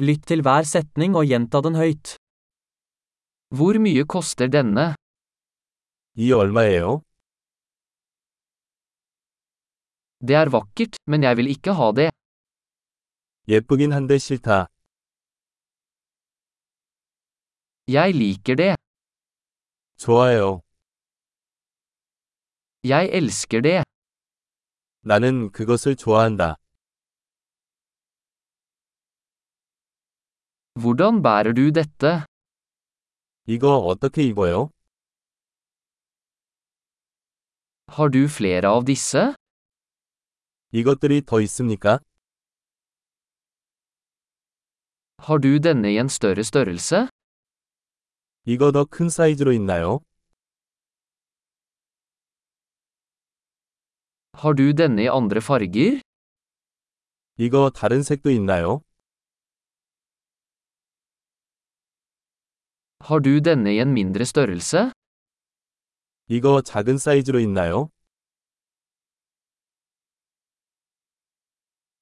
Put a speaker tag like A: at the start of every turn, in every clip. A: Lytt til hver setning og gjenta den høyt.
B: Hvor mye koster denne?
C: 이 얼마예요?
B: Det er vakkert, men jeg vil ikke ha det.
C: 예쁘긴 한데 싫다.
B: Jeg liker det.
C: 좋아요.
B: Jeg elsker det.
C: 나는 그것을 좋아한다.
B: Hvordan bærer du dette?
C: 이거 어떻게 입어요?
B: Har du flere av disse?
C: 이것들이 더 있습니까?
B: Har du denne i en større størrelse?
C: 이거 더 큰 사이즈로 있나요?
B: Har du denne i andre farger?
C: 이거 다른 색도 있나요?
B: Har du denne i en mindre størrelse?
C: 이거 작은 사이즈로 있나요?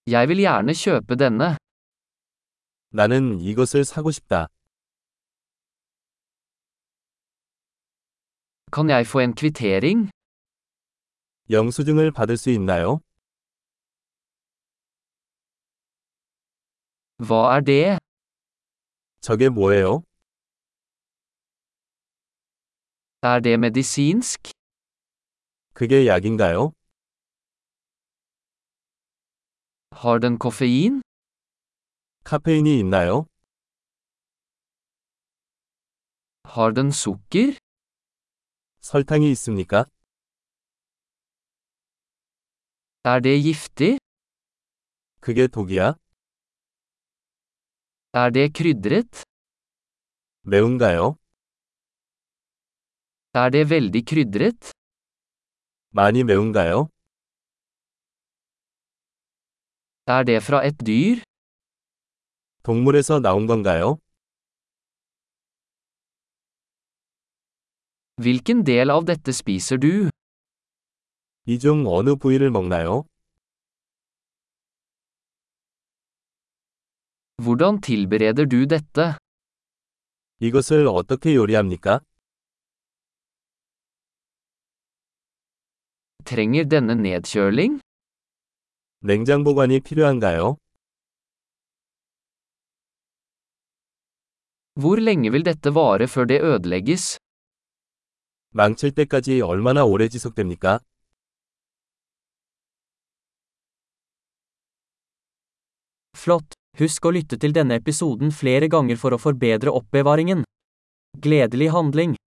B: Jeg vil gjerne kjøpe denne.
C: 나는 이것을 사고 싶다.
B: Kan jeg få en kvittering?
C: 영수증을 받을 수 있나요?
B: Hva er det?
C: 저게 뭐예요?
B: Er det medisinsk?
C: 그게 약인가요?
B: Har den koffein?
C: 카페인이 있나요?
B: Har den sukker?
C: 설탕이 있습니까?
B: Er det giftig?
C: 그게 독이야?
B: Er det krydret?
C: 매운가요?
B: Er det veldig krydret?
C: 많이 매운가요?
B: Er det fra et dyr?
C: 동물에서 나온 건가요?
B: Hvilken del av dette spiser du?
C: 이 중 어느 부위를 먹나요?
B: Hvordan tilbereder du dette?
C: 이것을 어떻게 요리합니까?
B: Trenger denne nedkjøling?
C: 냉장 보관이 필요한가요?
B: Hvor lenge vil dette vare før det ødelegges?
C: 망칠 때까지 얼마나 오래 지속됩니까?
A: Flott! Husk å lytte til denne episoden flere ganger for å forbedre oppbevaringen. Gledelig handling!